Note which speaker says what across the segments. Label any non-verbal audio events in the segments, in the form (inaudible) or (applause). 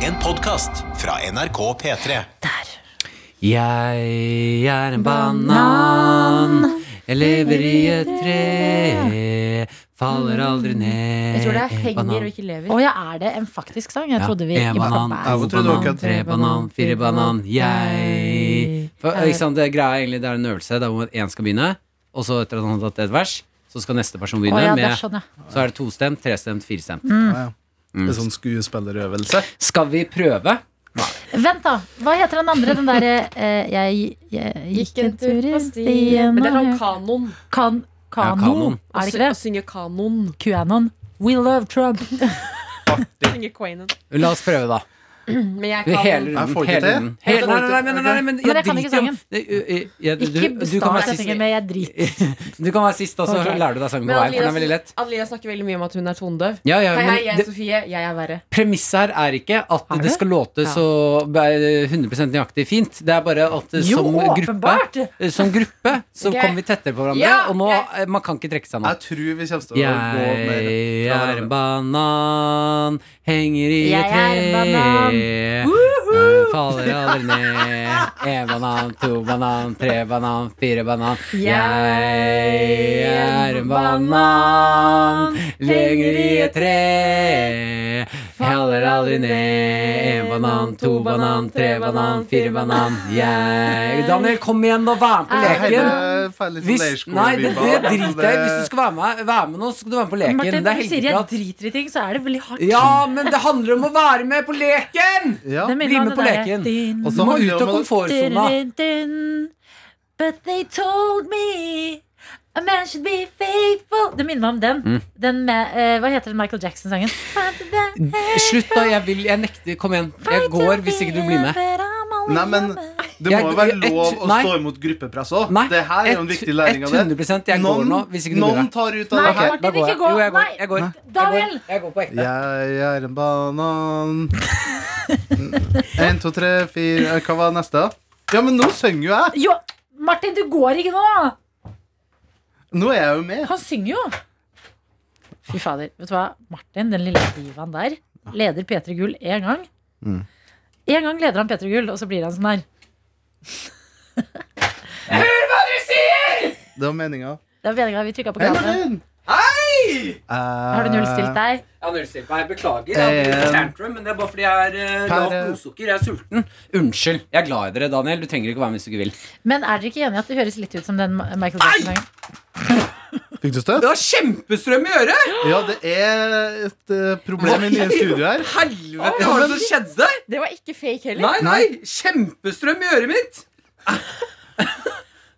Speaker 1: En podkast fra NRK P3.
Speaker 2: Jeg er en banan. Jeg lever i et tre. Faller aldri ned.
Speaker 3: Jeg tror det er henger og
Speaker 2: Eh, Banan.
Speaker 3: ikke lever.
Speaker 4: Å ja, er det en faktisk sang? Jeg
Speaker 2: Ja,
Speaker 4: trodde vi
Speaker 2: en
Speaker 4: ikke
Speaker 2: banan,
Speaker 4: pappa
Speaker 2: to
Speaker 4: er
Speaker 5: Hvorfor trodde du
Speaker 2: banan,
Speaker 5: ikke at-
Speaker 2: tre banan, fire banan, jeg For,
Speaker 4: Er-
Speaker 2: ikke sant, Det greia er egentlig det er en øvelse der hvor én skal begynne, og så etter at han har tatt et vers, så skal neste person
Speaker 4: Å
Speaker 2: begynne.
Speaker 4: ja, det
Speaker 2: med,
Speaker 4: skjønner jeg. Mm.
Speaker 2: så er det tostemt, trestemt, firestemt.
Speaker 5: Ja, ja.
Speaker 2: Mm.
Speaker 5: Det er sånn skuespillerøvelse.
Speaker 2: Skal vi prøve?
Speaker 4: Vent, da. Hva heter den andre? Den derre eh, jeg, jeg gikk en tur i stien
Speaker 3: Men det er
Speaker 4: og hør-
Speaker 3: sånn kanon.
Speaker 4: kan,
Speaker 2: Ja, kanon.
Speaker 4: Kanon? Er det ikke det?
Speaker 3: Å synge kanon.
Speaker 4: QAnon. We love Trump.
Speaker 3: Synge Quanon.
Speaker 2: La oss prøve, da.
Speaker 3: Men jeg er
Speaker 2: Hele
Speaker 3: kanon.
Speaker 5: Jeg
Speaker 2: runden.
Speaker 5: får ikke
Speaker 2: Hele
Speaker 5: til.
Speaker 2: runden. Hele, nei, nei, nei, nei, nei, nei,
Speaker 4: Men
Speaker 2: men
Speaker 4: jeg kan ikke
Speaker 2: driter i om-
Speaker 4: sangen.
Speaker 2: Nei, ø- ø- jeg- du-
Speaker 4: Ikke
Speaker 2: du kan
Speaker 4: bestart
Speaker 2: være
Speaker 4: setningen
Speaker 2: sist.
Speaker 4: med 'jeg driter'.
Speaker 2: Du kan være sist, og så
Speaker 3: Ok.
Speaker 2: lærer du deg sangen på
Speaker 3: Men
Speaker 2: veien. For den er veldig
Speaker 3: Adelia,
Speaker 2: lett.
Speaker 3: Adelia snakker veldig mye om at hun er tonedøv.
Speaker 2: Ja, ja,
Speaker 3: Hei, hei, jeg
Speaker 2: men
Speaker 3: er
Speaker 2: det,
Speaker 3: Sofie. Jeg er verre.
Speaker 2: premisset her er ikke at det?
Speaker 4: det?
Speaker 2: skal låte
Speaker 3: Ja.
Speaker 2: så be- 100 nøyaktig fint. Det er bare at eh,
Speaker 4: Jo,
Speaker 2: som gruppe,
Speaker 4: åpenbart!
Speaker 2: eh, som gruppe så
Speaker 3: Ok.
Speaker 2: kommer vi tettere på hverandre,
Speaker 3: Ja,
Speaker 2: og nå
Speaker 3: ok.
Speaker 2: eh, man kan ikke trekke seg nå.
Speaker 5: Jeg tror vi kommer til å gå mer
Speaker 2: Jeg
Speaker 5: fra
Speaker 2: er en
Speaker 5: hverandre.
Speaker 2: banan, henger i
Speaker 4: Jeg
Speaker 2: et
Speaker 4: er en banan.
Speaker 2: tre. Eh, Faller aldri ned. En banan, to banan, tre banan, fire banan. Jeg er en banan, henger i et tre. Faller aldri ned. En banan, to banan, tre banan, fire banan. Jeg Daniel, kom igjen nå, vær med på
Speaker 5: Det er
Speaker 2: leken.
Speaker 5: hele- feil litt altså.
Speaker 2: Hvis,
Speaker 5: Sånn leirskole
Speaker 2: nei, det,
Speaker 5: vi
Speaker 2: det
Speaker 5: var.
Speaker 2: driter jeg i. Hvis du skal være med, være med nå, så skal du være med på leken.
Speaker 4: Martin,
Speaker 2: det
Speaker 4: når
Speaker 2: er
Speaker 4: du sier 'jeg
Speaker 2: helgeprat.
Speaker 4: driter i ting', så er det veldig hardt.
Speaker 2: Ja, men det handler om å være med på leken!
Speaker 5: Ja.
Speaker 4: Det minner meg
Speaker 2: Bli
Speaker 4: om
Speaker 2: med på
Speaker 4: det derre
Speaker 2: leken.
Speaker 4: din-
Speaker 5: Og
Speaker 2: Du
Speaker 5: så
Speaker 2: må
Speaker 5: handler det
Speaker 2: ut av
Speaker 5: om å-
Speaker 2: komfortsona.
Speaker 4: Dun-dun-dun. But they told me a man should be faithful. Det minner meg om den.
Speaker 2: Mm.
Speaker 4: Den med eh, Hva heter den Michael Jackson-sangen?
Speaker 2: Slutt, da. Jeg vil Jeg nekter. Kom igjen. Jeg (laughs) går hvis ikke du blir med.
Speaker 5: Nei, men det må
Speaker 2: Jeg-
Speaker 5: jo være
Speaker 2: jeg-
Speaker 5: lov å
Speaker 2: nei.
Speaker 5: stå imot gruppepress òg.
Speaker 2: Nei.
Speaker 5: Det her er jo en
Speaker 2: ett-
Speaker 5: viktig læring av det.
Speaker 2: 100 Jeg går nå hvis ikke du blir
Speaker 5: noen
Speaker 2: med.
Speaker 5: tar ut av
Speaker 4: Nei,
Speaker 2: Ok,
Speaker 5: det her.
Speaker 4: Martin,
Speaker 2: da går jeg.
Speaker 4: ikke gå.
Speaker 2: Jo, jeg går.
Speaker 4: Nei.
Speaker 2: Jeg går. Jeg
Speaker 4: Daniel!
Speaker 2: går. Jeg går på ekte.
Speaker 5: Jeg er en banan. (laughs) Én, to, tre, fire Hva var neste? Ja, men nå synger jo jeg!
Speaker 4: Jo, Martin, du går ikke nå!
Speaker 5: Nå er jeg jo med.
Speaker 4: Han synger jo. Fy fader. Vet du hva, Martin, den lille divaen der, leder P3 Gull én gang.
Speaker 2: Mm.
Speaker 4: Én gang leder han P3 Gull, og så blir han sånn her.
Speaker 5: Det var meninga.
Speaker 4: Det er meningen at vi trykket på
Speaker 5: Hei,
Speaker 4: knappen.
Speaker 5: Martin! Eh,
Speaker 4: Har du nullstilt deg?
Speaker 2: Ja, nullstilt meg. Beklager. Jeg hadde
Speaker 5: Eh,
Speaker 2: litt tantrum, men det er bare fordi jeg er eh,
Speaker 5: Per-
Speaker 2: lavt blodsukker. Jeg er sulten. Unnskyld. Jeg er glad i dere, Daniel. Du trenger ikke være med hvis du ikke vil.
Speaker 4: Men er dere ikke enige at det høres litt ut som den Ma- Michael Jackson-sangen?
Speaker 5: Fikk du støt?
Speaker 2: Det var kjempestrøm i øret!
Speaker 5: Ja, det er et eh, problem i nye studio her.
Speaker 2: Helvete, hva var det som skjedde?
Speaker 3: Det var ikke fake heller.
Speaker 2: Nei, nei. Kjempestrøm i øret mitt.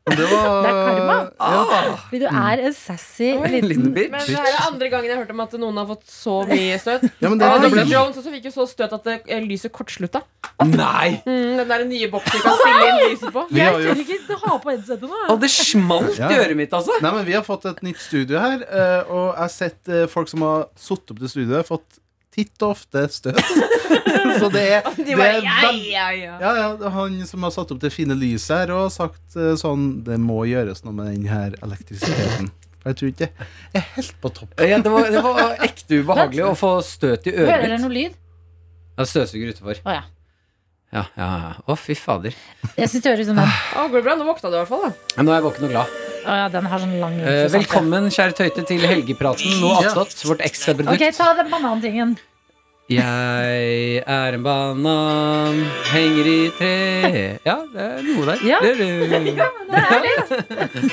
Speaker 5: Og Det var
Speaker 4: Det er karma.
Speaker 2: Ah,
Speaker 4: Fordi du er en sassy
Speaker 2: en
Speaker 4: liten
Speaker 2: liten bitch.
Speaker 3: Men det her er andre gangen jeg har hørt om at noen har fått så mye
Speaker 4: (laughs)
Speaker 3: støt.
Speaker 5: Ja, men det
Speaker 4: Ah,
Speaker 3: Det var
Speaker 5: er
Speaker 3: Dr.
Speaker 5: problem.
Speaker 3: Jones også fikk jo så støt at det, eh, lyset kortslutta.
Speaker 2: Nei!
Speaker 3: Mm, den der nye boksen vi (laughs) kan stille inn lyset på.
Speaker 5: Vi har jo
Speaker 4: ikke du har på headsetet nå.
Speaker 2: Og det smalt
Speaker 5: Ja.
Speaker 2: i øret mitt, altså.
Speaker 5: Nei, men Vi har fått et nytt studio her, eh, og jeg har sett eh, folk som har sittet opp til studioet, fått titt og ofte støt. (laughs) Så det er,
Speaker 3: De
Speaker 5: det
Speaker 3: bare,
Speaker 5: er
Speaker 3: ja,
Speaker 5: veld-
Speaker 3: ja, ja.
Speaker 5: ja, ja, det er han som har satt opp det fine lyset her og har sagt eh, sånn Det må gjøres noe med den her elektrisiteten. For jeg tror ikke Jeg er helt på topp.
Speaker 2: Ja, det, var, det var ekte ubehagelig å få støt i
Speaker 4: Hører
Speaker 2: øret
Speaker 4: dere
Speaker 2: mitt.
Speaker 4: noe lyd?
Speaker 2: Ja, Støvsuger utafor.
Speaker 4: Å ja.
Speaker 2: Ja, ja, ja. Å, fy fader.
Speaker 4: Jeg syns det høres ut som den.
Speaker 3: Å, går det bra? Nå våkna du i hvert fall, da.
Speaker 2: Ja, Nå er jeg våken og glad.
Speaker 4: Ah. Å ja, den har sånn lang
Speaker 2: Eh, velkommen, kjære tøyte, til Helgepraten. Nå attåt vårt ekstraprodukt.
Speaker 4: Ok, ta den banantingen.
Speaker 2: Jeg er en banan, henger i tre Ja, det er noe der.
Speaker 4: Ja.
Speaker 2: Det er det.
Speaker 4: Det er litt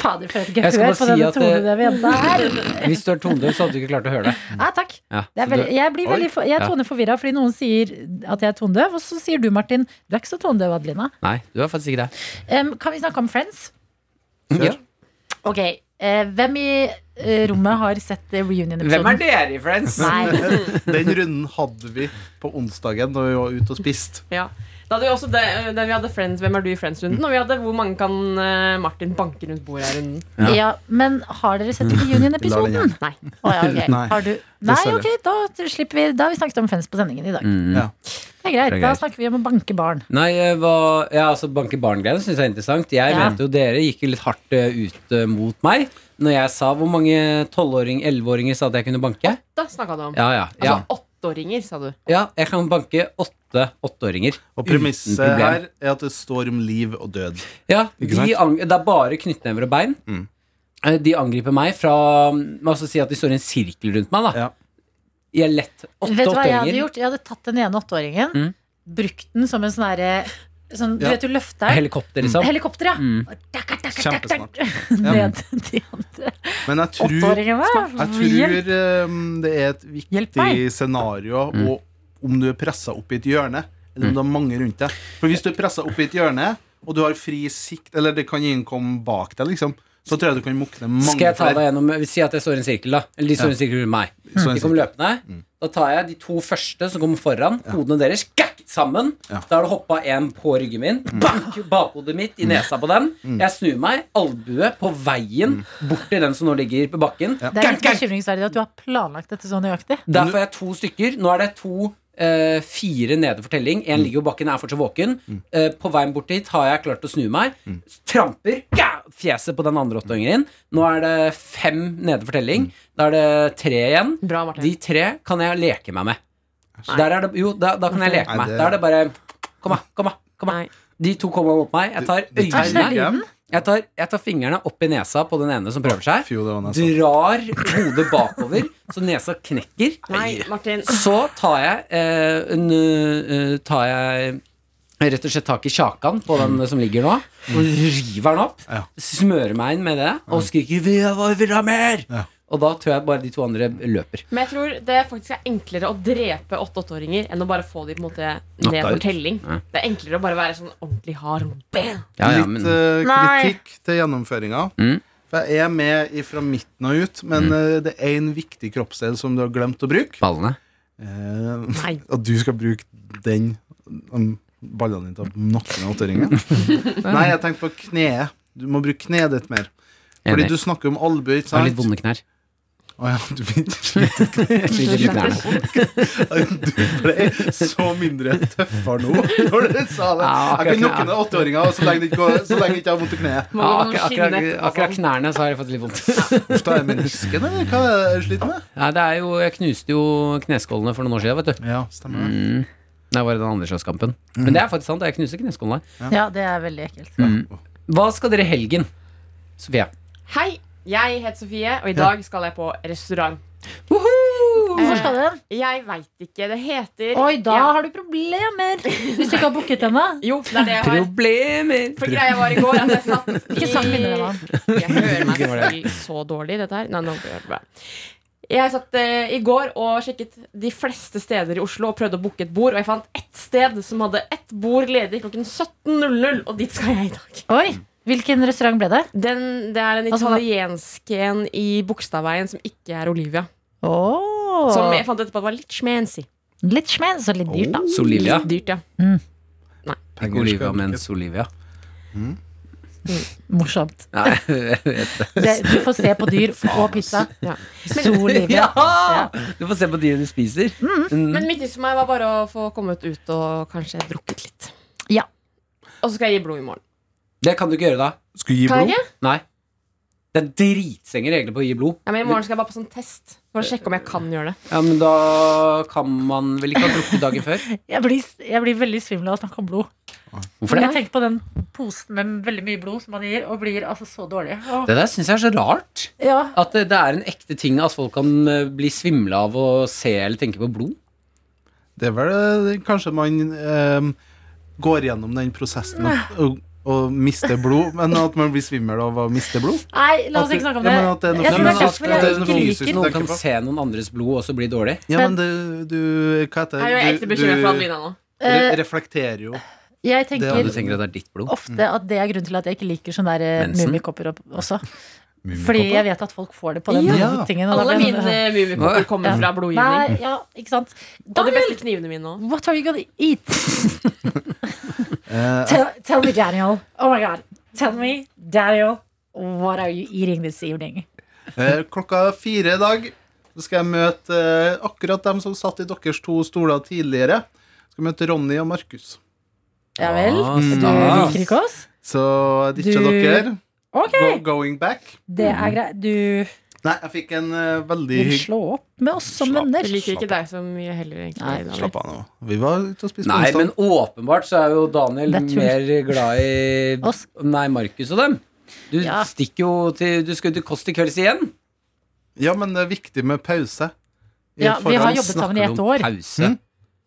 Speaker 4: Fader, for et
Speaker 2: Jeg
Speaker 4: gehør
Speaker 2: skal bare
Speaker 4: på
Speaker 2: si
Speaker 4: denne
Speaker 2: at eh, det-
Speaker 4: tonedøve
Speaker 2: (laughs)
Speaker 4: jenta her.
Speaker 2: Hvis du er tondøv, så hadde du ikke klart å høre det.
Speaker 4: Ja, Ah, takk. Det er
Speaker 2: Ja, så du-
Speaker 4: veldig, jeg blir
Speaker 2: Oi.
Speaker 4: veldig for, jeg er
Speaker 2: Ja.
Speaker 4: toneforvirra fordi noen sier at jeg er tondøv, og så sier du, Martin, du er ikke så tondøv, Adelina.
Speaker 2: Nei, du er faktisk ikke det.
Speaker 4: Em, kan vi snakke om Friends?
Speaker 2: Ja.
Speaker 4: Ok, eh, hvem i eh, rommet har sett eh, reunion-episoden?
Speaker 2: Hvem er dere i Friends?
Speaker 4: Nei,
Speaker 5: Den runden hadde vi på onsdagen da vi var ute og spiste.
Speaker 3: Ja. Da hadde vi også det, eh, da vi hadde Friends, Hvem er du i Friends-runden? Og vi hadde Hvor mange kan eh, Martin banke rundt bordet her-runden.
Speaker 4: ja. men har dere sett reunion-episoden?
Speaker 3: Nei.
Speaker 4: Å ja, ok.
Speaker 5: Nei,
Speaker 4: Har du... Nei,
Speaker 5: dessverre.
Speaker 4: ok, da slipper vi Da har vi snakket om Friends på sendingen i dag.
Speaker 5: Ja.
Speaker 4: Det er greit,
Speaker 2: Det er
Speaker 4: da
Speaker 2: greit.
Speaker 4: snakker vi om å banke barn.
Speaker 2: Nei, eh, hva, ja, altså Banke barn-greiene syns jeg er interessant. Jeg
Speaker 4: Ja.
Speaker 2: mente jo dere gikk jo litt hardt eh, ut eh, mot meg når jeg sa hvor mange 12-åring, 11-åringer sa at jeg kunne banke.
Speaker 3: Da snakka du om.
Speaker 2: Ja, ja, ja.
Speaker 3: Altså åtte. åtteåringer, sa du.
Speaker 2: Ja, jeg kan banke åtte åtteåringer.
Speaker 5: Og
Speaker 2: Uten
Speaker 5: premisset
Speaker 2: problem.
Speaker 5: her er at det står om liv og død.
Speaker 2: Ja,
Speaker 5: Ikke
Speaker 2: de ang Det er bare knyttnever og bein.
Speaker 5: Mm.
Speaker 2: Eh, De angriper meg fra Man skal si at de står i en sirkel rundt meg. da
Speaker 5: Ja.
Speaker 2: Jeg er lett åtte
Speaker 4: Vet du hva jeg hadde
Speaker 2: åtteåringer.
Speaker 4: gjort? Jeg hadde tatt den ene åtteåringen,
Speaker 2: Mm.
Speaker 4: brukt den som en sånn herre sånn, Du
Speaker 5: Ja.
Speaker 4: vet du løfter
Speaker 2: Helikopter, liksom.
Speaker 4: Helikopter, ja.
Speaker 2: Mm.
Speaker 4: Takk, takk, takk, takk, (laughs)
Speaker 5: Kjempesmart.
Speaker 4: takk.
Speaker 5: Ja.
Speaker 4: Ned til de andre
Speaker 5: Men jeg tror,
Speaker 4: åtteåringene.
Speaker 5: jeg
Speaker 4: Hjelp.
Speaker 5: tror eh, det er et
Speaker 4: Hjelp
Speaker 5: viktig
Speaker 4: meg.
Speaker 5: scenario
Speaker 2: Mm.
Speaker 5: og om du er pressa opp i et hjørne, eller om det er mange rundt deg. For hvis du er pressa opp i et hjørne, og du har fri sikt, eller det kan innkomme bak deg, liksom, så tror jeg du kan mukne mange
Speaker 2: Skal jeg ta
Speaker 5: flere. Mm.
Speaker 2: deg gjennom Si at jeg står i en sirkel, da. Eller de står i en sirkel rundt meg.
Speaker 5: Så en
Speaker 2: De kommer løpende. Da tar jeg de to første som kommer foran. Hodene deres skakk, sammen.
Speaker 5: Ja. Mm.
Speaker 2: Da har det hoppa en på ryggen min. Bank! Bakhodet mitt i nesa på den. Jeg snur meg, albue på veien
Speaker 5: Mm.
Speaker 2: bort til den som nå ligger på bakken.
Speaker 4: Det er
Speaker 2: Gank,
Speaker 4: litt
Speaker 2: gank!
Speaker 4: bekymringsverdig at du har planlagt dette så nøyaktig.
Speaker 2: Der får jeg to stykker. Nå er det to eh, fire nede for telling.
Speaker 5: Mm.
Speaker 2: Én ligger på bakken, er fortsatt våken. Eh, på veien bort dit har jeg klart å snu meg.
Speaker 5: Mm.
Speaker 2: Tramper gah, fjeset på den andre åtteåringen. Nå er det fem nede for
Speaker 5: Mm.
Speaker 2: telling. Da er det tre igjen.
Speaker 3: Bra, Martin.
Speaker 2: De tre kan jeg leke meg med. Der er det, jo, da, da kan jeg leke
Speaker 5: Nei,
Speaker 2: meg.
Speaker 5: det-
Speaker 2: Da er det bare Kom, da. Kom, da. Kom, da.
Speaker 3: Nei.
Speaker 2: De to kommer mot meg. Jeg tar
Speaker 5: Du- du tar
Speaker 2: øynene
Speaker 4: lyden?
Speaker 2: jeg tar, jeg tar fingrene opp i nesa på den ene som prøver seg.
Speaker 5: Fjo, det var nesten.
Speaker 2: Drar hodet bakover, så nesa knekker.
Speaker 3: Nei, Martin.
Speaker 2: Så tar jeg, eh, en, eh, tar jeg rett og slett tak i sjakan på den som ligger nå, og river den opp.
Speaker 5: Ja.
Speaker 2: Smører meg inn med det og skriker 'Vi vil- vil ha mer!'
Speaker 5: Ja.
Speaker 2: Og da tror jeg bare de to andre løper.
Speaker 3: Men jeg tror det faktisk er enklere å drepe åtte åtteåringer enn å bare få dem på en måte ned
Speaker 2: Knocka
Speaker 3: for
Speaker 2: ut.
Speaker 3: telling.
Speaker 2: Ja.
Speaker 3: Det er enklere å bare være sånn ordentlig hard. sånn Bam!
Speaker 5: Litt eh, kritikk til gjennomføringa.
Speaker 2: Mm.
Speaker 5: For jeg er med fra midten og ut, men eh, det er en viktig kroppsdel som du har glemt å bruke.
Speaker 2: Ballene.
Speaker 5: Eh, (laughs)
Speaker 3: Nei.
Speaker 5: at du skal bruke den um, ballene dine til å nakke ned
Speaker 3: (laughs)
Speaker 5: åtteåringen. Nei, jeg tenkte på kneet. Du må bruke kneet ditt mer. Fordi
Speaker 2: Enig.
Speaker 5: du snakker om albue, ikke
Speaker 2: Jeg har litt
Speaker 5: sant?
Speaker 2: vonde
Speaker 5: (laughs)
Speaker 2: knær.
Speaker 5: Å ja, du ble-
Speaker 2: Jeg sliter litt med knærne.
Speaker 5: du ble så mindre tøffere nå når du sa det.
Speaker 2: Ja, akkurat
Speaker 5: Jeg kan
Speaker 2: kneet.
Speaker 5: nakke ned åtteåringer så lenge det ikke går- så lenge jeg ikke har vondt i kneet.
Speaker 3: Må
Speaker 2: Ja,
Speaker 3: gå
Speaker 2: Ah, akkurat,
Speaker 3: noen
Speaker 2: akkurat,
Speaker 3: skinner etterpå,
Speaker 2: akkurat
Speaker 3: sånn.
Speaker 2: knærne så har jeg fått litt vondt.
Speaker 5: Uff, da er menisken, eller hva er det jeg sliter med?
Speaker 2: Nei, det er jo, jeg knuste jo kneskålene for noen år siden, vet du.
Speaker 5: Ja, stemmer det.
Speaker 2: Mm. Det var i den andre slåsskampen. Men det er faktisk sant, jeg knuste kneskålene.
Speaker 4: Ja, det er veldig ekkelt.
Speaker 2: Hva skal dere i helgen, Sofie?
Speaker 3: Hei, jeg heter Sofie, og i dag skal jeg på restaurant. Eh,
Speaker 4: Hvorfor skal du den?
Speaker 3: Jeg veit ikke. Det heter
Speaker 4: Oi, da
Speaker 3: Ja.
Speaker 4: har du problemer! Hvis du ikke har booket den, da.
Speaker 3: Jo, det er det jeg har.
Speaker 2: Problemer!
Speaker 3: For greia var i går at jeg satt
Speaker 4: (laughs) Ikke sang mindre, da.
Speaker 3: Jeg hører meg
Speaker 2: Ikke var det.
Speaker 3: selv så dårlig i dette her. Nei, nå blir det bra. Jeg satt eh, i går og sjekket de fleste steder i Oslo og prøvde å booke et bord, og jeg fant ett sted som hadde ett bord ledig klokken 17.00, og dit skal jeg i dag.
Speaker 4: Oi, hvilken restaurant ble det?
Speaker 3: Den, det er en
Speaker 4: Altså, hva-
Speaker 3: italiensk en i Bogstadveien som ikke er Olivia.
Speaker 4: Oh.
Speaker 3: Som jeg fant etterpå at var litt schmancy.
Speaker 4: Litt schmens og litt dyrt, da.
Speaker 2: Solivia.
Speaker 3: Litt dyrt, ja.
Speaker 2: Ikke Olivia, men Solivia.
Speaker 4: Morsomt.
Speaker 2: Nei, jeg vet det.
Speaker 4: Det, du får se på dyr og pizza.
Speaker 3: Ja.
Speaker 5: (laughs)
Speaker 4: Solivia.
Speaker 2: Ja! Du får se på de du spiser. Mm.
Speaker 3: Men viktigst for meg var bare å få kommet ut og kanskje drukket litt.
Speaker 4: Ja.
Speaker 3: Og så skal jeg gi blod i morgen.
Speaker 2: Det kan du ikke gjøre da.
Speaker 5: Skal gi
Speaker 3: Kan jeg
Speaker 5: blod?
Speaker 3: ikke?
Speaker 2: Nei. Det er dritstrenge regler på å gi blod.
Speaker 3: Ja, men I morgen skal jeg bare på sånn test for å sjekke om jeg kan gjøre det.
Speaker 2: Ja, men da kan man vel ikke ha drukket dagen før?
Speaker 4: Jeg blir, jeg blir veldig svimmel av å snakke om blod.
Speaker 2: Hvorfor
Speaker 4: Jeg tenker på den posen med veldig mye blod som man gir, og blir altså så dårlig. Åh.
Speaker 2: Det der syns jeg er så rart.
Speaker 4: Ja.
Speaker 2: At det, det er en ekte ting at folk kan eh, bli svimle av å se eller tenke på blod.
Speaker 5: Det er vel eh, kanskje man eh, går gjennom den prosessen at- og, og mister blod, men at man blir svimmel av å miste blod.
Speaker 4: Nei, la oss ikke snakke om det.
Speaker 5: Ja, men at det er noe-
Speaker 4: Jeg
Speaker 5: Nei,
Speaker 4: tror det
Speaker 5: men
Speaker 4: er
Speaker 5: at-
Speaker 4: derfor
Speaker 5: at det
Speaker 4: jeg
Speaker 5: er noe
Speaker 4: ikke
Speaker 5: fysisk-
Speaker 4: liker
Speaker 2: noen
Speaker 5: tenker
Speaker 2: kan
Speaker 5: på.
Speaker 2: se noen andres blod og så bli dårlig.
Speaker 5: Ja, men du, du Hva
Speaker 3: Jeg
Speaker 5: heter
Speaker 3: er jo
Speaker 5: det?
Speaker 3: ekte
Speaker 5: Du,
Speaker 3: bekymret for
Speaker 5: du
Speaker 3: Adelina nå.
Speaker 4: Eh.
Speaker 5: re reflekterer jo.
Speaker 4: Jeg
Speaker 5: Det
Speaker 2: Og
Speaker 4: tenker
Speaker 2: du tenker at det er ditt blod.
Speaker 4: ofte at det er grunnen til at jeg ikke liker sånne der eh,
Speaker 2: Mensen?
Speaker 4: mummikopper opp- også. Fordi jeg vet at folk får det på den
Speaker 5: Ja.
Speaker 4: tingen. og da
Speaker 3: Alle
Speaker 4: blir jeg
Speaker 3: mine
Speaker 4: sånn,
Speaker 3: eh, mummikopper kommer fra blodgivning.
Speaker 4: Nei, ja, ikke sant.
Speaker 3: Og de
Speaker 4: Daniel,
Speaker 3: beste knivene mine òg.
Speaker 4: what are you gonna eat?
Speaker 5: Eh,
Speaker 4: (laughs) Tell, tell me, Daniel. Oh my god. Tell me, Daniel. What are you eating this evening?
Speaker 5: eh, klokka fire i dag så skal jeg møte eh, akkurat dem som satt i deres to stoler tidligere. Skal møte Ronny og Markus.
Speaker 4: Ja vel?
Speaker 2: Ah,
Speaker 4: Du
Speaker 2: stas.
Speaker 4: liker ikke oss?
Speaker 5: Så jeg ditcher
Speaker 4: Du-
Speaker 5: dere.
Speaker 4: Ok,
Speaker 5: Go, going back.
Speaker 4: det er greit. Du
Speaker 5: Nei, jeg fikk en eh, veldig
Speaker 4: Vil
Speaker 5: hygg-
Speaker 4: slå opp med oss som
Speaker 5: Slapp.
Speaker 4: venner.
Speaker 3: Jeg liker ikke deg så mye heller, egentlig.
Speaker 4: Nei,
Speaker 3: Daniel.
Speaker 5: Slapp av nå. Vi var ute og spiste
Speaker 2: Nei,
Speaker 5: onsdag.
Speaker 2: men åpenbart så er jo Daniel
Speaker 4: Det er tull.
Speaker 2: mer glad i
Speaker 4: Oss.
Speaker 2: Nei, Markus og dem. Du
Speaker 4: Ja.
Speaker 2: stikker jo til Du skal jo til Kåss til kvelds igjen.
Speaker 5: Ja, men det er viktig med pause. I
Speaker 4: Ja,
Speaker 5: et
Speaker 4: vi har
Speaker 5: forhold.
Speaker 4: jobbet sammen i
Speaker 2: Snakker
Speaker 4: ett
Speaker 2: du om
Speaker 4: år.
Speaker 2: Pause.
Speaker 5: Mm.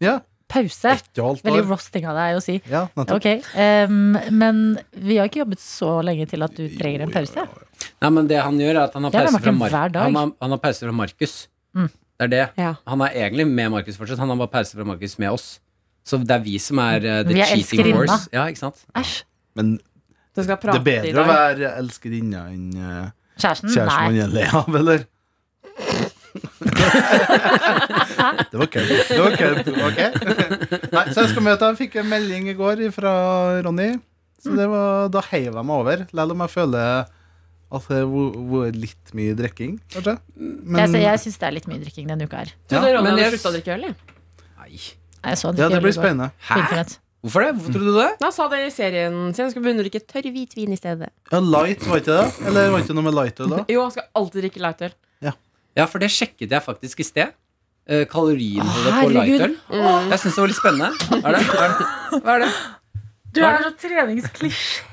Speaker 5: Ja,
Speaker 4: Pause.
Speaker 5: ett og halvt
Speaker 4: Veldig
Speaker 5: år.
Speaker 4: roasting av deg å si.
Speaker 5: Ja, nettopp.
Speaker 4: Ok, ehm, Men vi har ikke jobbet så lenge til at du trenger en pause.
Speaker 2: Nei, men det han gjør, er at han har
Speaker 4: Det er
Speaker 2: pause
Speaker 4: Martin
Speaker 2: fra, Mar
Speaker 4: hver dag.
Speaker 2: han har, han har pause fra Markus.
Speaker 4: Mm.
Speaker 2: Det er det.
Speaker 3: Ja.
Speaker 2: Han er egentlig med Markus fortsatt. Han har bare pause fra Markus med oss. Så det er vi som er eh, the
Speaker 4: Vi er
Speaker 2: cheating
Speaker 4: elskerinna.
Speaker 2: horse. Ja, ikke sant?
Speaker 4: Æsj.
Speaker 5: Men
Speaker 3: Du skal
Speaker 5: det
Speaker 3: prate
Speaker 5: er
Speaker 3: i
Speaker 5: bedre
Speaker 3: dag.
Speaker 5: å være elskerinne enn eh,
Speaker 4: Kjæresten?
Speaker 5: kjæresten
Speaker 4: Mm,
Speaker 5: man
Speaker 4: Nei.
Speaker 5: gjelder
Speaker 4: (laughs)
Speaker 5: av, eller? det var kødd. Det var kødd, ok? Nei, så jeg skal møte Jeg fikk en melding i går fra Ronny, så det var, da heiv jeg meg over. Selv om jeg føler at det var litt mye drikking, kanskje.
Speaker 4: Jeg,
Speaker 5: Men
Speaker 4: sy-
Speaker 5: ja,
Speaker 4: jeg syns det er litt mye drikking denne uka her.
Speaker 3: Trodde
Speaker 2: Ja,
Speaker 3: Ronny
Speaker 2: men
Speaker 3: hadde
Speaker 2: jeg-
Speaker 3: sluttet å drikke øl, jeg.
Speaker 2: Nei.
Speaker 4: Jeg så han drikke
Speaker 5: det
Speaker 4: øl i
Speaker 5: blir
Speaker 4: går
Speaker 5: spennende.
Speaker 4: på
Speaker 2: Hæ?
Speaker 4: internett.
Speaker 2: Hvorfor det? Hvorfor tror du det?
Speaker 3: Han sa det i serien sin. Han skulle begynne å drikke tørr hvitvin i stedet.
Speaker 5: Ja, light, var ikke det? Eller var ikke noe med light da?
Speaker 3: Jo, han skal alltid drikke lightøl.
Speaker 2: Ja, for det sjekket jeg faktisk i sted. Eh, Kaloriinnholdet på
Speaker 4: herregud.
Speaker 2: lightøl. Jeg syns det var litt spennende. Hva er det? Hva er det? Hva er det?
Speaker 4: Du
Speaker 2: er
Speaker 4: så treningsklisjé.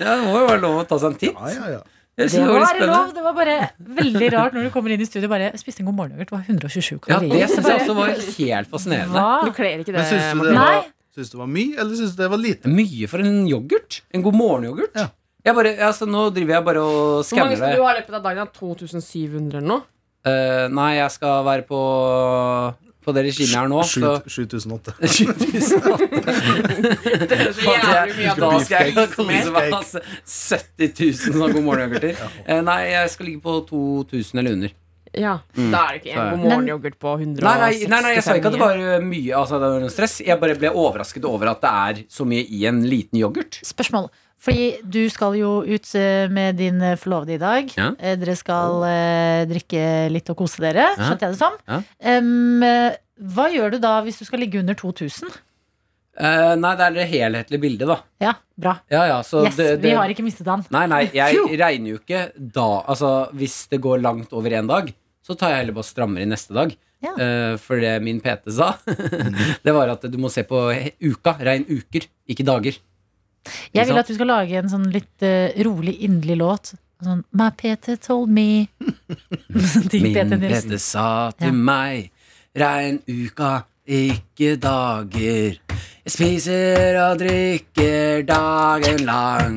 Speaker 2: Ja, det må jo være lov å ta seg en titt.
Speaker 5: Ja, ja, ja.
Speaker 4: Det
Speaker 2: Jeg synes det var litt
Speaker 4: var lov.
Speaker 2: spennende.
Speaker 4: Det var bare veldig rart når du kommer inn i studio bare spiste en god morgenyoghurt. Det var 127
Speaker 2: Ja,
Speaker 4: kalorier.
Speaker 2: det syns jeg også var helt fascinerende.
Speaker 4: Hva?
Speaker 3: Du kler ikke det.
Speaker 5: Men syns du det
Speaker 3: Martin.
Speaker 5: var,
Speaker 4: Nei.
Speaker 5: syns du det var mye, eller syns du det var lite?
Speaker 2: Mye for en yoghurt. En god morgen-yoghurt.
Speaker 5: Ja.
Speaker 2: Jeg bare, altså, nå driver jeg bare og
Speaker 3: Hvor mange
Speaker 2: skanner
Speaker 3: skal
Speaker 2: det.
Speaker 3: du ha i løpet av dagen? da? 2700
Speaker 2: (laughs)
Speaker 3: eller noe?
Speaker 2: Eh, nei, jeg skal være på, på det regimet her nå. Så. (laughs)
Speaker 5: Sju- 7008.
Speaker 2: 7008.
Speaker 3: Det er så jævlig mye av
Speaker 2: Da
Speaker 3: det.
Speaker 2: skal jeg
Speaker 5: Beefcake.
Speaker 2: kose meg med altså, 70 000 sånne god morgen-yoghurter. Eh, nei, jeg skal ligge på 2000 eller under.
Speaker 3: Ja,
Speaker 5: Mm.
Speaker 3: Da er det ikke en
Speaker 2: Så-
Speaker 3: god morgenyoghurt på
Speaker 2: Nei
Speaker 3: 165
Speaker 2: nei, nei, nei, jeg sa ikke at det var uh, mye altså, det var noe stress. Jeg bare ble overrasket over at det er så mye i en liten yoghurt.
Speaker 4: Spørsmål. Fordi du skal jo ut eh, med din eh, forlovede i dag.
Speaker 2: Ja.
Speaker 4: Eh, Dere skal eh, drikke litt og kose dere,
Speaker 2: Ja.
Speaker 4: skjønte jeg det som.
Speaker 2: Ja.
Speaker 4: Em, eh, hva gjør du da hvis du skal ligge under 2000?
Speaker 2: Eh, nei, det er det helhetlige bildet, da.
Speaker 4: Ja, bra.
Speaker 2: Ja, ja, så
Speaker 4: Yes,
Speaker 2: det, det,
Speaker 4: vi har ikke mistet han.
Speaker 2: Nei, nei, jeg
Speaker 4: Phew.
Speaker 2: regner jo ikke da Altså, hvis det går langt over en dag Så tar jeg heller bare strammere neste dag
Speaker 4: Ja.
Speaker 2: Eh, For det min PT sa (laughs) Det var at du må se på he- uka Regn uker, ikke dager
Speaker 4: Jeg vil
Speaker 2: sant?
Speaker 4: at du skal lage en sånn litt eh, rolig, inderlig låt. Sånn My Peter told me. (laughs) Sånn ting
Speaker 2: Min
Speaker 4: Peter Nilsen.
Speaker 2: PT sa
Speaker 4: Ja.
Speaker 2: til meg Regn uka, ikke dager Jeg spiser og drikker dagen lang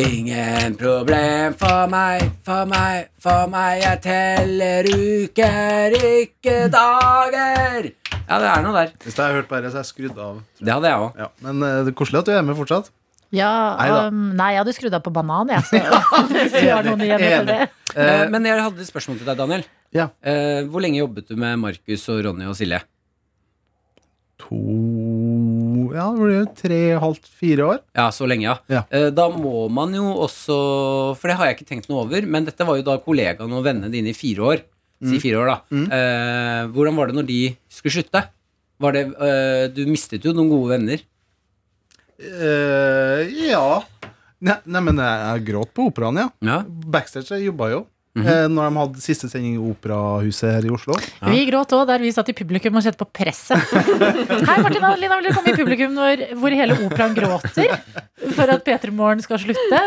Speaker 2: Ingen problem for meg, for meg, for meg Jeg teller uker, ikke dager Ja, det er noe der
Speaker 5: Hvis jeg har hørt på dette, så er jeg skrudd av.
Speaker 2: Det hadde jeg også
Speaker 5: Ja, men eh, det er koselig at du er med fortsatt.
Speaker 4: Ja,
Speaker 5: Neida.
Speaker 4: um, nei, jeg hadde skrudd av på banan, jeg. Så, (laughs) hvis du har noen igjen etter det.
Speaker 2: Eh,
Speaker 5: Eh,
Speaker 2: Men jeg hadde et spørsmål til deg, Daniel
Speaker 5: Ja.
Speaker 2: Eh, Hvor lenge jobbet du med Markus og Ronny og Silje?
Speaker 5: to Ja, det blir jo tre og et halvt, fire år.
Speaker 2: Ja, så lenge, ja.
Speaker 5: Ja.
Speaker 2: Eh, Da må man jo også For det har jeg ikke tenkt noe over, men dette var jo da kollegaene og vennene dine i fire år. Si fire år, da.
Speaker 5: Mm.
Speaker 2: Eh, hvordan var det når de skulle slutte? Var det, eh, du mistet jo noen gode venner.
Speaker 5: Eh, ja. Nei, nei, men jeg, jeg gråt på operaen, ja.
Speaker 2: Ja.
Speaker 5: Backstage jeg jobba jo.
Speaker 2: Mhm.
Speaker 5: eh, når de hadde siste sending i Operahuset her i Oslo.
Speaker 2: Ja.
Speaker 4: Vi gråt òg, der vi satt i publikum og kjente på (laughs) presset. Hei, Martin og Adelina, vil dere komme i publikum når, hvor hele operaen gråter for at P3 Morgen skal slutte?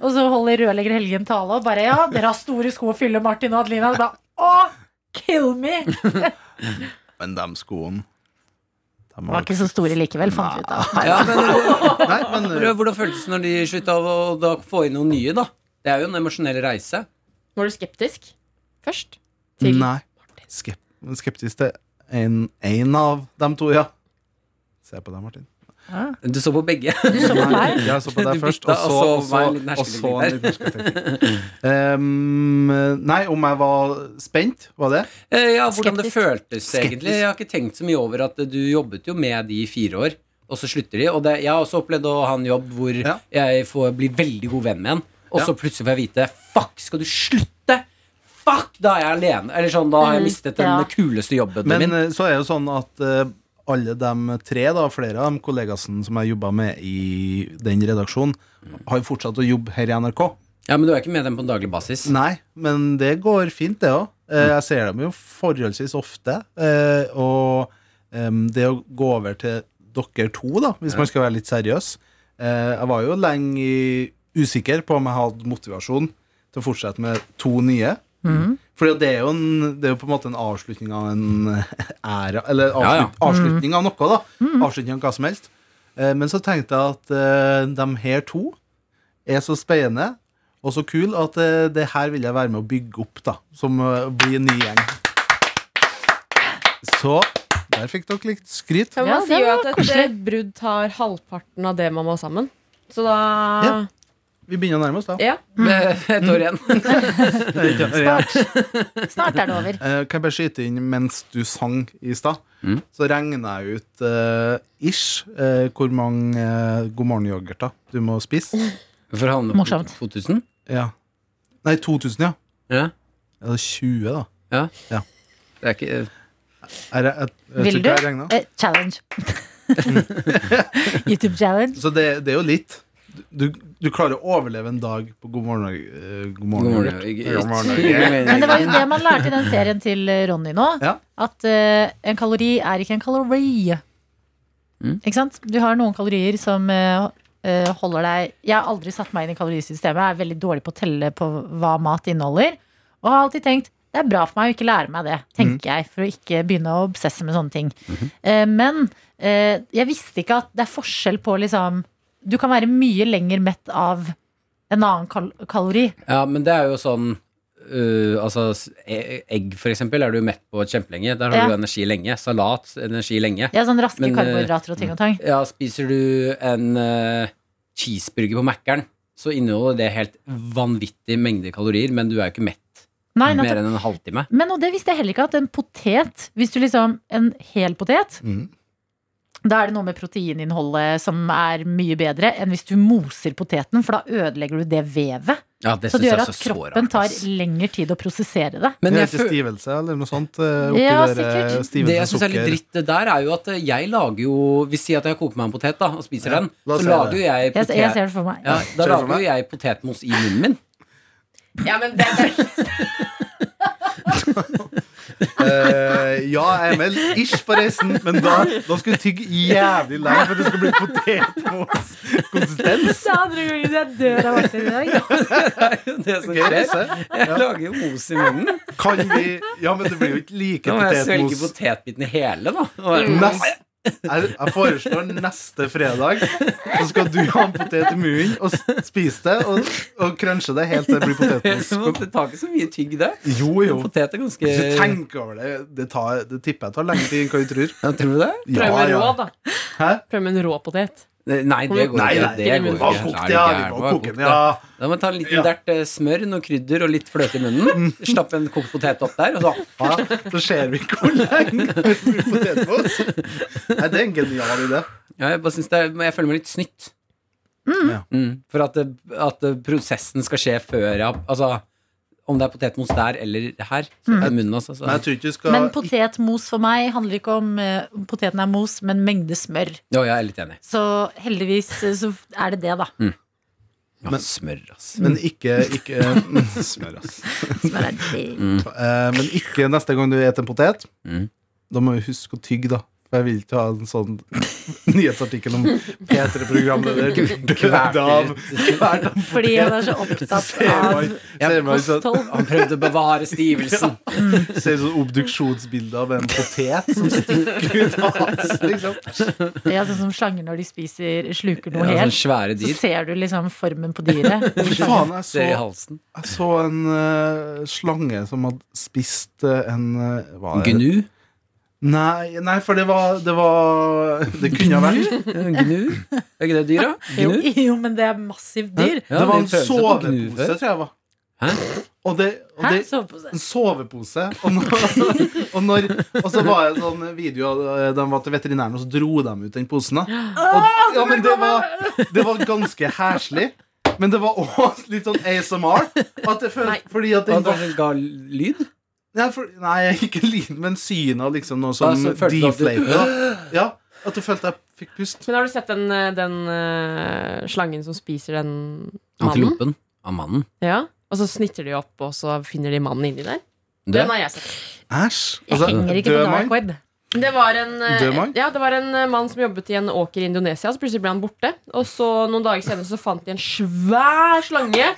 Speaker 4: Og så holder rørlegger Helge en tale og bare Ja, dere har store sko å fylle, Martin og Adelina. Og da, å, kill me!
Speaker 5: Men de skoene de
Speaker 4: Var ikke så store likevel, fant vi ut av.
Speaker 2: ja, men eh,
Speaker 5: Nei, men eh,
Speaker 2: Hvordan føltes det når de slutta å da få inn noen nye, da? Det er jo en emosjonell reise.
Speaker 3: Var du skeptisk først? Til
Speaker 5: Nei. Skep skeptisk til en, en av de to, ja. Se på deg, Martin.
Speaker 2: Du så på begge.
Speaker 4: Du så på meg.
Speaker 5: Jeg så på deg
Speaker 2: Du
Speaker 5: først,
Speaker 2: bytta,
Speaker 5: og så,
Speaker 2: og
Speaker 5: og
Speaker 2: så var det
Speaker 5: så,
Speaker 2: en liten
Speaker 5: og så en
Speaker 2: hersketeknikk
Speaker 5: liten hersketeknikk. Um, nei, om jeg var spent, var det?
Speaker 2: Eh, Ja, hvordan det
Speaker 4: Skeptisk.
Speaker 2: føltes egentlig. Jeg har ikke tenkt så mye over at eh, du jobbet jo med de i fire år, og så slutter de. Og det, jeg har også opplevd å ha en jobb hvor
Speaker 5: Ja.
Speaker 2: jeg får bli veldig god venn med en, og
Speaker 5: Ja.
Speaker 2: så plutselig får jeg vite Fuck, skal du slutte? Fuck, da er jeg alene. Eller sånn, da har jeg
Speaker 4: Mm,
Speaker 2: mistet den
Speaker 4: ja.
Speaker 2: kuleste jobben
Speaker 5: Men
Speaker 2: min.
Speaker 5: eh, så er det jo sånn at eh, alle de tre, da, flere av de kollegaene som jeg jobba med i den redaksjonen, har jo fortsatt å jobbe her i NRK.
Speaker 2: Ja, Men du er ikke med dem på en daglig basis?
Speaker 5: Nei, men det går fint, det òg.
Speaker 2: Mm.
Speaker 5: Jeg ser dem jo forholdsvis ofte. eh, Og em, det å gå over til dere to, da, hvis man skal være litt seriøs eh, Jeg var jo lenge i- usikker på om jeg hadde motivasjon til å fortsette med to nye.
Speaker 2: Mm.
Speaker 5: Fordi det er, jo en, det er jo på en måte en avslutning av en (laughs) æra Eller avslut,
Speaker 2: Ja, Mm. ja.
Speaker 5: avslutning av noe, da. Avslutning av hva som helst. Eh, Men så tenkte jeg at eh, de her to er så spennende og så kul at eh, det her vil jeg være med å bygge opp, da. Som eh, blir en ny gjeng. Så der fikk dere litt skryt.
Speaker 4: Ja,
Speaker 3: man
Speaker 4: det
Speaker 3: sier jo
Speaker 4: var
Speaker 3: at et
Speaker 4: koselig.
Speaker 3: eh, brudd tar halvparten av det man var sammen. Så da
Speaker 5: Ja. Vi begynner å nærme oss, da.
Speaker 3: Ja.
Speaker 2: Et år igjen.
Speaker 4: Snart er det over.
Speaker 5: Eh, Kan jeg bare skyte inn mens du sang i stad?
Speaker 2: Mm.
Speaker 5: Så regna jeg ut eh, ish eh, hvor mange eh, God morgen-yoghurter du må spise.
Speaker 2: For å havne på
Speaker 4: Morsomt.
Speaker 2: 2000?
Speaker 5: Ja. Nei, 2000, ja.
Speaker 2: Ja.
Speaker 5: Ja, det er 20, da.
Speaker 2: Det er ikke
Speaker 5: Er jeg, jeg, jeg, tror
Speaker 4: Vil
Speaker 5: ikke
Speaker 4: du?
Speaker 5: jeg regnet.
Speaker 4: Eh, (laughs) challenge. YouTube-challenge.
Speaker 5: Så det, det er jo litt. Du, du klarer å overleve en dag på God morgen. eh, God
Speaker 2: God
Speaker 5: morgen,
Speaker 2: morgen.
Speaker 5: yoghurt. God morgen yoghurt.
Speaker 4: Men det var jo det man lærte i den serien til eh, Ronny nå.
Speaker 5: Ja.
Speaker 4: At eh, en kalori er ikke en kalori.
Speaker 2: Mm.
Speaker 4: Ikke sant? Du har noen kalorier som eh, eh, holder deg Jeg har aldri satt meg inn i kalorisystemet. Jeg er veldig dårlig på å telle på hva mat inneholder. Og har alltid tenkt det er bra for meg å ikke lære meg det,
Speaker 2: Mm.
Speaker 4: tenker jeg, for å ikke begynne å obsesse med sånne ting.
Speaker 2: Mm-hmm.
Speaker 4: Eh, men eh, jeg visste ikke at det er forskjell på liksom Du kan være mye lenger mett av en annen kal kalori.
Speaker 2: Ja, men det er jo sånn øh, altså, s- e- egg, for eksempel, er du mett på kjempelenge. Der har
Speaker 4: Ja.
Speaker 2: du energi lenge. Salat, energi lenge.
Speaker 4: Ja, sånn raske
Speaker 2: Men, eh,
Speaker 4: karbohydrater og ting og tang.
Speaker 2: Ja, spiser du en øh, cheeseburger på Mækkern, så inneholder det helt vanvittig mengde kalorier, men du er jo ikke mett
Speaker 4: Nei, nettopp.
Speaker 2: mer enn en halvtime.
Speaker 4: Men og det visste jeg heller ikke at en potet Hvis du liksom, en hel potet
Speaker 5: Mhm.
Speaker 4: Da er det noe med proteininnholdet som er mye bedre Enn hvis du moser poteten For da ødelegger du det vevet
Speaker 2: Ja, det
Speaker 4: Så det
Speaker 2: synes jeg
Speaker 4: gjør at
Speaker 2: også er så
Speaker 4: kroppen
Speaker 2: rart,
Speaker 4: tar
Speaker 2: ass.
Speaker 4: lengre tid å prosessere det
Speaker 2: men jeg
Speaker 5: det er ikke
Speaker 2: føl-
Speaker 5: stivelse eller noe sånt? eh, Oppi
Speaker 4: Ja,
Speaker 5: der, eh,
Speaker 4: sikkert.
Speaker 5: stivelse
Speaker 2: Det jeg syns er litt
Speaker 5: sukker. (laughs)
Speaker 2: dritt der, er jo at eh, jeg lager jo Hvis jeg sier at jeg koker meg en potet da, og spiser
Speaker 5: Ja,
Speaker 2: den,
Speaker 5: la
Speaker 2: så
Speaker 5: oss se
Speaker 2: lager
Speaker 5: det.
Speaker 2: jo jeg
Speaker 4: Jeg, jeg
Speaker 2: potet...
Speaker 4: ser det for meg
Speaker 2: Ja, da
Speaker 5: Ser du for
Speaker 2: lager
Speaker 5: meg?
Speaker 2: jo jeg potetmos i munnen min.
Speaker 3: ja, men det,
Speaker 5: (laughs)
Speaker 3: det,
Speaker 5: Eh, ja, jeg er med ish på reisen, men da, da skal du tygge jævlig lenge for at det skal bli potetmos-konsistens.
Speaker 4: sa andre ganger jeg dør av vakter i dag
Speaker 2: Det er jo (laughs) det som
Speaker 5: Ok,
Speaker 2: skjer.
Speaker 5: se.
Speaker 2: (laughs) Jeg lager jo mos i munnen.
Speaker 5: Kan vi Ja, men det blir jo ikke like
Speaker 2: Da må jeg svelge
Speaker 5: potetmos.
Speaker 2: potetbitene hele,
Speaker 5: (laughs)
Speaker 2: da. Og være-
Speaker 5: Nest, jeg, jeg foreslår neste fredag, så skal du ha en potet i munnen og s- spise det og, og crunche det helt til det blir
Speaker 2: (laughs) Men
Speaker 5: potetmos.
Speaker 2: Det tar ikke Mm. så mye tygg, det.
Speaker 5: Jo, jo.
Speaker 2: Potet er ganske
Speaker 5: Hvis du tenker over det, det, tar, det tipper jeg tar lenge tid enn hva du tror.
Speaker 2: ja, Tror du det?
Speaker 3: prøv med rå, da.
Speaker 5: Hæ?
Speaker 3: Prøv med en rå potet.
Speaker 2: Nei, det går
Speaker 5: Nei,
Speaker 2: ikke.
Speaker 5: nei,
Speaker 2: Det går
Speaker 5: Å,
Speaker 2: ikke. Er
Speaker 5: kok det,
Speaker 2: du
Speaker 5: ja.
Speaker 2: gæren?
Speaker 5: Vi må
Speaker 2: Bare kok
Speaker 5: koke den, ja.
Speaker 2: Da må man ta en liten
Speaker 5: Ja. Mm.
Speaker 2: dert eh, smør, noe krydder og litt fløte i (laughs) munnen. Stappe en kokt potet opp der, og så
Speaker 5: (laughs) Ja, så ser vi hvor lenge det blir potetmos. Nei, det er en genial idé.
Speaker 2: ja, jeg, bare synes det er, men jeg føler meg litt snytt.
Speaker 5: Ja.
Speaker 2: Mm, for at, det- at det- prosessen skal skje før jeg Altså, om det er potetmos der eller her, så er det munnen, altså. Så.
Speaker 5: Mm. Men jeg tror ikke du skal
Speaker 4: Men potetmos for meg handler ikke om eh, om Poteten er mos, men mengde smør
Speaker 2: Ja, jeg er litt enig.
Speaker 4: Så heldigvis eh, så er det det da
Speaker 2: Ja,
Speaker 5: Men-
Speaker 2: smør, ass.
Speaker 5: Men ikke, ikke (laughs) mm, Smør, ass.
Speaker 4: Som er det
Speaker 5: Eh, Men ikke neste gang du spiser en potet.
Speaker 2: Mm.
Speaker 5: Da må vi huske å tygge, da. For jeg vil ikke ha en sånn (laughs) nyhetsartikkel om
Speaker 2: (laughs)
Speaker 5: P3-programleder (laughs) du døde av hvert av
Speaker 4: Fordi jeg er så opptatt av
Speaker 5: Ser man sånn,
Speaker 4: kosthold
Speaker 2: Han prøvde å bevare stivelsen.
Speaker 5: ser sånn obduksjonsbilde av en potet som stikker (laughs) ut av halsen,
Speaker 2: (laughs)
Speaker 5: liksom.
Speaker 4: Ja, sånn som slanger når de spiser, sluker noe
Speaker 2: Ja, sånn
Speaker 4: helt.
Speaker 2: svære
Speaker 4: Så
Speaker 2: dyr.
Speaker 4: ser du liksom formen på dyret.
Speaker 2: (laughs)
Speaker 5: Fy faen, jeg
Speaker 2: Ser i
Speaker 5: så
Speaker 2: halsen.
Speaker 5: Jeg så en eh, slange som hadde spist eh, en eh, hva er det?
Speaker 2: Gnu.
Speaker 5: Nei, nei, for det var Det, var, (laughs) det kunne ha vært
Speaker 2: (laughs) Gnu? Er ikke det dyra?
Speaker 4: Jo,
Speaker 2: Gnu?
Speaker 4: (laughs) jo, men det er massivt dyr.
Speaker 2: Ja,
Speaker 5: Det var
Speaker 2: de
Speaker 5: en
Speaker 2: prøvde seg på gnu
Speaker 5: sovepose,
Speaker 2: før.
Speaker 5: tror jeg var.
Speaker 2: Hæ?
Speaker 5: Og det, og
Speaker 4: Hæ?
Speaker 5: det
Speaker 4: Sovepose.
Speaker 5: en sovepose. Og, når, (laughs) og, når, og så var det en sånn video av de var til veterinæren, og så dro de ut den posen. Da. Og, ja, men det var, det var ganske heslig. Men det var også (laughs) litt sånn ASMR. At det føl,
Speaker 3: Nei.
Speaker 5: fordi at den
Speaker 2: Og
Speaker 5: var,
Speaker 2: det ga lyd?
Speaker 5: nei, for, nei, ikke lyden, men synet av liksom noe
Speaker 2: Da
Speaker 5: som
Speaker 2: så følte du at du-
Speaker 5: deflated. da. Ja, at du følte jeg fikk pust.
Speaker 3: Men har du sett den, eh, den eh, slangen som spiser den mannen?
Speaker 2: Antilopen. av mannen.
Speaker 3: Ja. Og så snitter de opp, og så finner de mannen inni der.
Speaker 2: Død?
Speaker 3: Den har jeg sett.
Speaker 5: Æsj.
Speaker 4: Jeg
Speaker 2: Altså,
Speaker 4: henger ikke på
Speaker 5: Altså, død
Speaker 4: dark
Speaker 5: mann.
Speaker 4: web.
Speaker 3: Det var, en, eh,
Speaker 5: Død mann?
Speaker 3: ja, det var en eh, mann som jobbet i en åker i Indonesia, så plutselig ble han borte. Og så noen dager senere så fant de en svær slange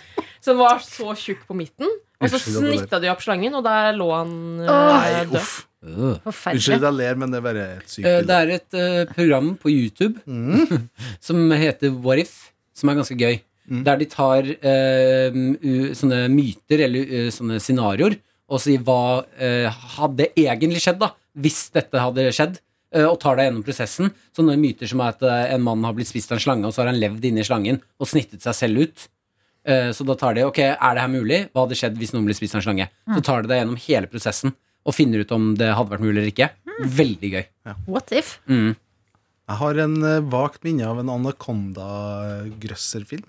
Speaker 3: som var så tjukk på midten. Og så
Speaker 5: Unnskyld, jeg må bare-
Speaker 3: snitta de opp slangen, og der lå han eh,
Speaker 5: Nei,
Speaker 3: død.
Speaker 5: uff.
Speaker 2: Øh.
Speaker 4: Forferdelig.
Speaker 5: Unnskyld jeg ler, men det er bare et sykt
Speaker 2: Eh, Det
Speaker 5: bilde.
Speaker 2: er et eh, program på YouTube (laughs) som heter What If, som er ganske gøy. Der de tar eh, u- sånne myter eller eh, sånne scenarioer og sier hva eh, hadde egentlig skjedd da, hvis dette hadde skjedd. eh, Og tar deg gjennom prosessen. Sånne myter som er at eh, en mann har blitt spist av en slange, og så har han levd inni slangen og snittet seg selv ut. Eh, Så da tar de ok, er det her mulig? Hva hadde skjedd hvis noen ble spist av en slange? Så tar de deg gjennom hele prosessen og finner ut om det hadde vært mulig eller ikke. Veldig gøy.
Speaker 4: What if?
Speaker 2: Mm.
Speaker 5: Jeg har en eh, vagt minne av en Anaconda-grøsser-film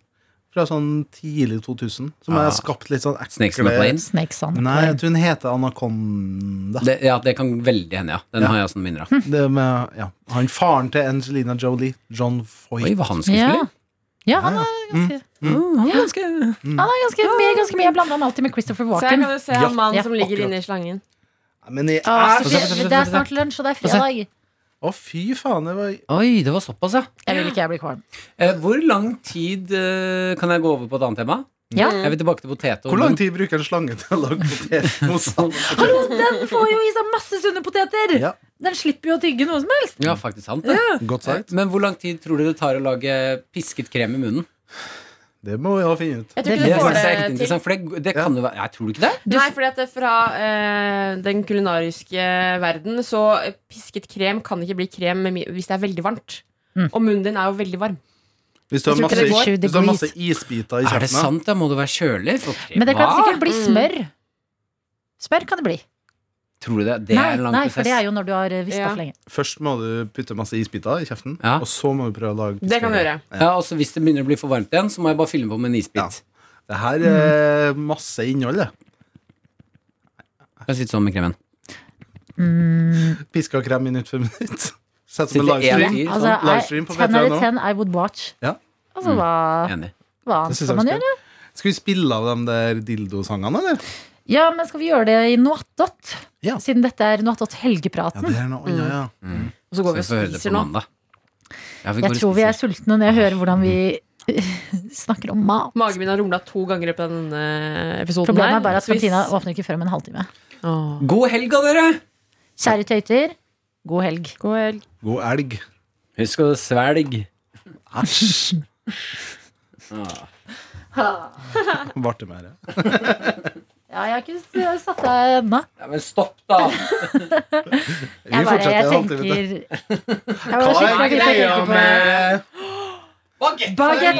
Speaker 5: fra sånn tidlig 2000, som
Speaker 2: Ah.
Speaker 5: har skapt litt sånn ekle
Speaker 2: Snakes on a plane. Mm.
Speaker 4: Snakes on.
Speaker 5: Nei, jeg tror den heter Anaconda.
Speaker 2: Det, ja, det kan veldig hende, ja. Hm. Den
Speaker 5: Ja.
Speaker 2: har jeg også noen minner av.
Speaker 5: Det med, ja. Han faren til Angelina Jolie, John
Speaker 2: Oi,
Speaker 5: Foy.
Speaker 2: var han
Speaker 4: Ja.
Speaker 2: skuespiller? Mm.
Speaker 4: ja, han
Speaker 5: Ja,
Speaker 4: er ganske Oh,
Speaker 2: Han var ganske
Speaker 4: Han er ganske mye, ganske mye. Jeg blander han alltid med Christopher
Speaker 3: Så her
Speaker 4: Walken.
Speaker 3: kan du se han mannen
Speaker 4: Ja,
Speaker 3: som ligger
Speaker 5: akkurat.
Speaker 3: inni slangen.
Speaker 5: Men
Speaker 2: Ah,
Speaker 5: i,
Speaker 4: Å, Sofie,
Speaker 5: Æ, få se, få se, få se,
Speaker 4: det er
Speaker 5: få se.
Speaker 4: snart lunsj, og det er
Speaker 2: se.
Speaker 4: fredag.
Speaker 5: Å, fy faen, det var
Speaker 2: Oi, det var såpass, ja.
Speaker 4: Jeg vil ikke jeg blir kvalm.
Speaker 2: Eh, hvor lang tid eh, Kan jeg gå over på et annet tema?
Speaker 4: Ja.
Speaker 2: Jeg vil tilbake til potet. og
Speaker 5: Hvor lang
Speaker 2: rom.
Speaker 5: tid bruker en slange til å lage (laughs) potetmos?
Speaker 4: Hallo, den får jo i seg masse sunne poteter!
Speaker 5: Ja.
Speaker 4: Den slipper jo å tygge noe som helst.
Speaker 2: Ja, faktisk sant. det.
Speaker 5: Godt
Speaker 2: Eh,
Speaker 5: sagt.
Speaker 2: Men hvor lang tid tror dere det tar å lage pisket krem i munnen?
Speaker 5: Det må vi jo finne ut.
Speaker 4: Det
Speaker 3: Jeg tror ikke
Speaker 2: Det
Speaker 3: du
Speaker 2: synes
Speaker 3: får
Speaker 2: jeg er ekte
Speaker 3: det til.
Speaker 2: interessant, for det, det kan jo være Jeg tror du ikke det?
Speaker 3: Nei, fordi at det er fra eh, den kulinariske verden så eh, pisket krem kan ikke bli krem med mi- hvis det er veldig varmt. Og munnen din er jo veldig varm.
Speaker 5: Hvis du har
Speaker 4: Jeg tror
Speaker 5: masse,
Speaker 4: ikke det går.
Speaker 5: hvis du har masse isbiter i
Speaker 2: Er det
Speaker 5: kjeften
Speaker 2: sant? Da må det være kjølig. For krem.
Speaker 4: Men det kan
Speaker 2: Hva?
Speaker 4: sikkert bli smør. Smør kan det bli.
Speaker 2: Tror du det? Det
Speaker 4: nei,
Speaker 2: er en lang
Speaker 4: nei, for
Speaker 2: prosess.
Speaker 4: det er jo når du har vispa
Speaker 3: Ja.
Speaker 4: for lenge.
Speaker 5: Først må du putte masse isbiter i kjeften,
Speaker 2: Ja.
Speaker 5: og så må du prøve å lage
Speaker 3: Det kan du
Speaker 5: piskekrem.
Speaker 3: gjøre.
Speaker 2: Ja, og så Hvis det begynner å bli for varmt igjen, så må jeg bare fylle på med en isbit.
Speaker 5: Det her er masse innhold, det.
Speaker 2: Kan sitte sånn med kremen.
Speaker 4: Mm.
Speaker 5: Piska krem minutt for minutt. (laughs) Sett som en
Speaker 2: Sitte én
Speaker 5: livestream.
Speaker 2: fyr
Speaker 4: Altså,
Speaker 5: Sånn, livestream på
Speaker 4: I, ten
Speaker 5: P3
Speaker 4: eller
Speaker 5: nå.
Speaker 4: ten, I would watch.
Speaker 5: Ja. Mm.
Speaker 4: Altså, hva,
Speaker 2: Enig.
Speaker 4: hva
Speaker 5: Det
Speaker 4: annet
Speaker 5: synes
Speaker 4: skal
Speaker 5: jeg
Speaker 4: man
Speaker 5: vi
Speaker 4: gjøre?
Speaker 5: Skal vi spille av de der dildosangene, eller?
Speaker 4: Ja, men skal vi gjøre det i Noattot?
Speaker 5: Ja.
Speaker 4: Siden dette er
Speaker 5: Ja,
Speaker 4: Noattot-helgepraten.
Speaker 5: det er noe annet, ja.
Speaker 3: Og så
Speaker 2: Så
Speaker 3: går vi
Speaker 2: vi
Speaker 3: og
Speaker 2: får høre det
Speaker 3: spiser
Speaker 2: på
Speaker 3: nå.
Speaker 2: mandag. Ja, vi går
Speaker 4: Jeg
Speaker 2: og
Speaker 4: tror vi
Speaker 2: spiser.
Speaker 4: er sultne når jeg hører hvordan vi
Speaker 5: Mm.
Speaker 4: (laughs) snakker om mat.
Speaker 3: Magen min har rumla to ganger i løpet av denne episoden.
Speaker 4: Problemet
Speaker 3: her,
Speaker 4: er bare at
Speaker 3: så hvis-
Speaker 4: kantina åpner ikke før om en halvtime.
Speaker 3: Åh.
Speaker 2: God helg, da, dere!
Speaker 4: Kjære tøyter, god helg.
Speaker 3: God helg.
Speaker 5: God elg.
Speaker 2: Husk å svelge.
Speaker 5: Æsj. Ble det mer?
Speaker 4: Ja, jeg har ikke s- jeg har satt deg ennå.
Speaker 2: Ja, men stopp, da!
Speaker 5: Vi
Speaker 4: Jeg bare jeg
Speaker 5: fortsetter en
Speaker 4: tenker
Speaker 5: halvtime til.
Speaker 4: Jeg bare
Speaker 5: Hva er
Speaker 4: skikkelig tenker
Speaker 5: greia
Speaker 4: på
Speaker 5: med
Speaker 4: Baguette, baguette!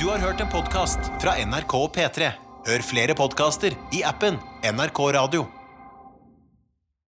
Speaker 1: Du har hørt en podcast fra NRK P3. Hør flere podcaster i appen NRK Radio.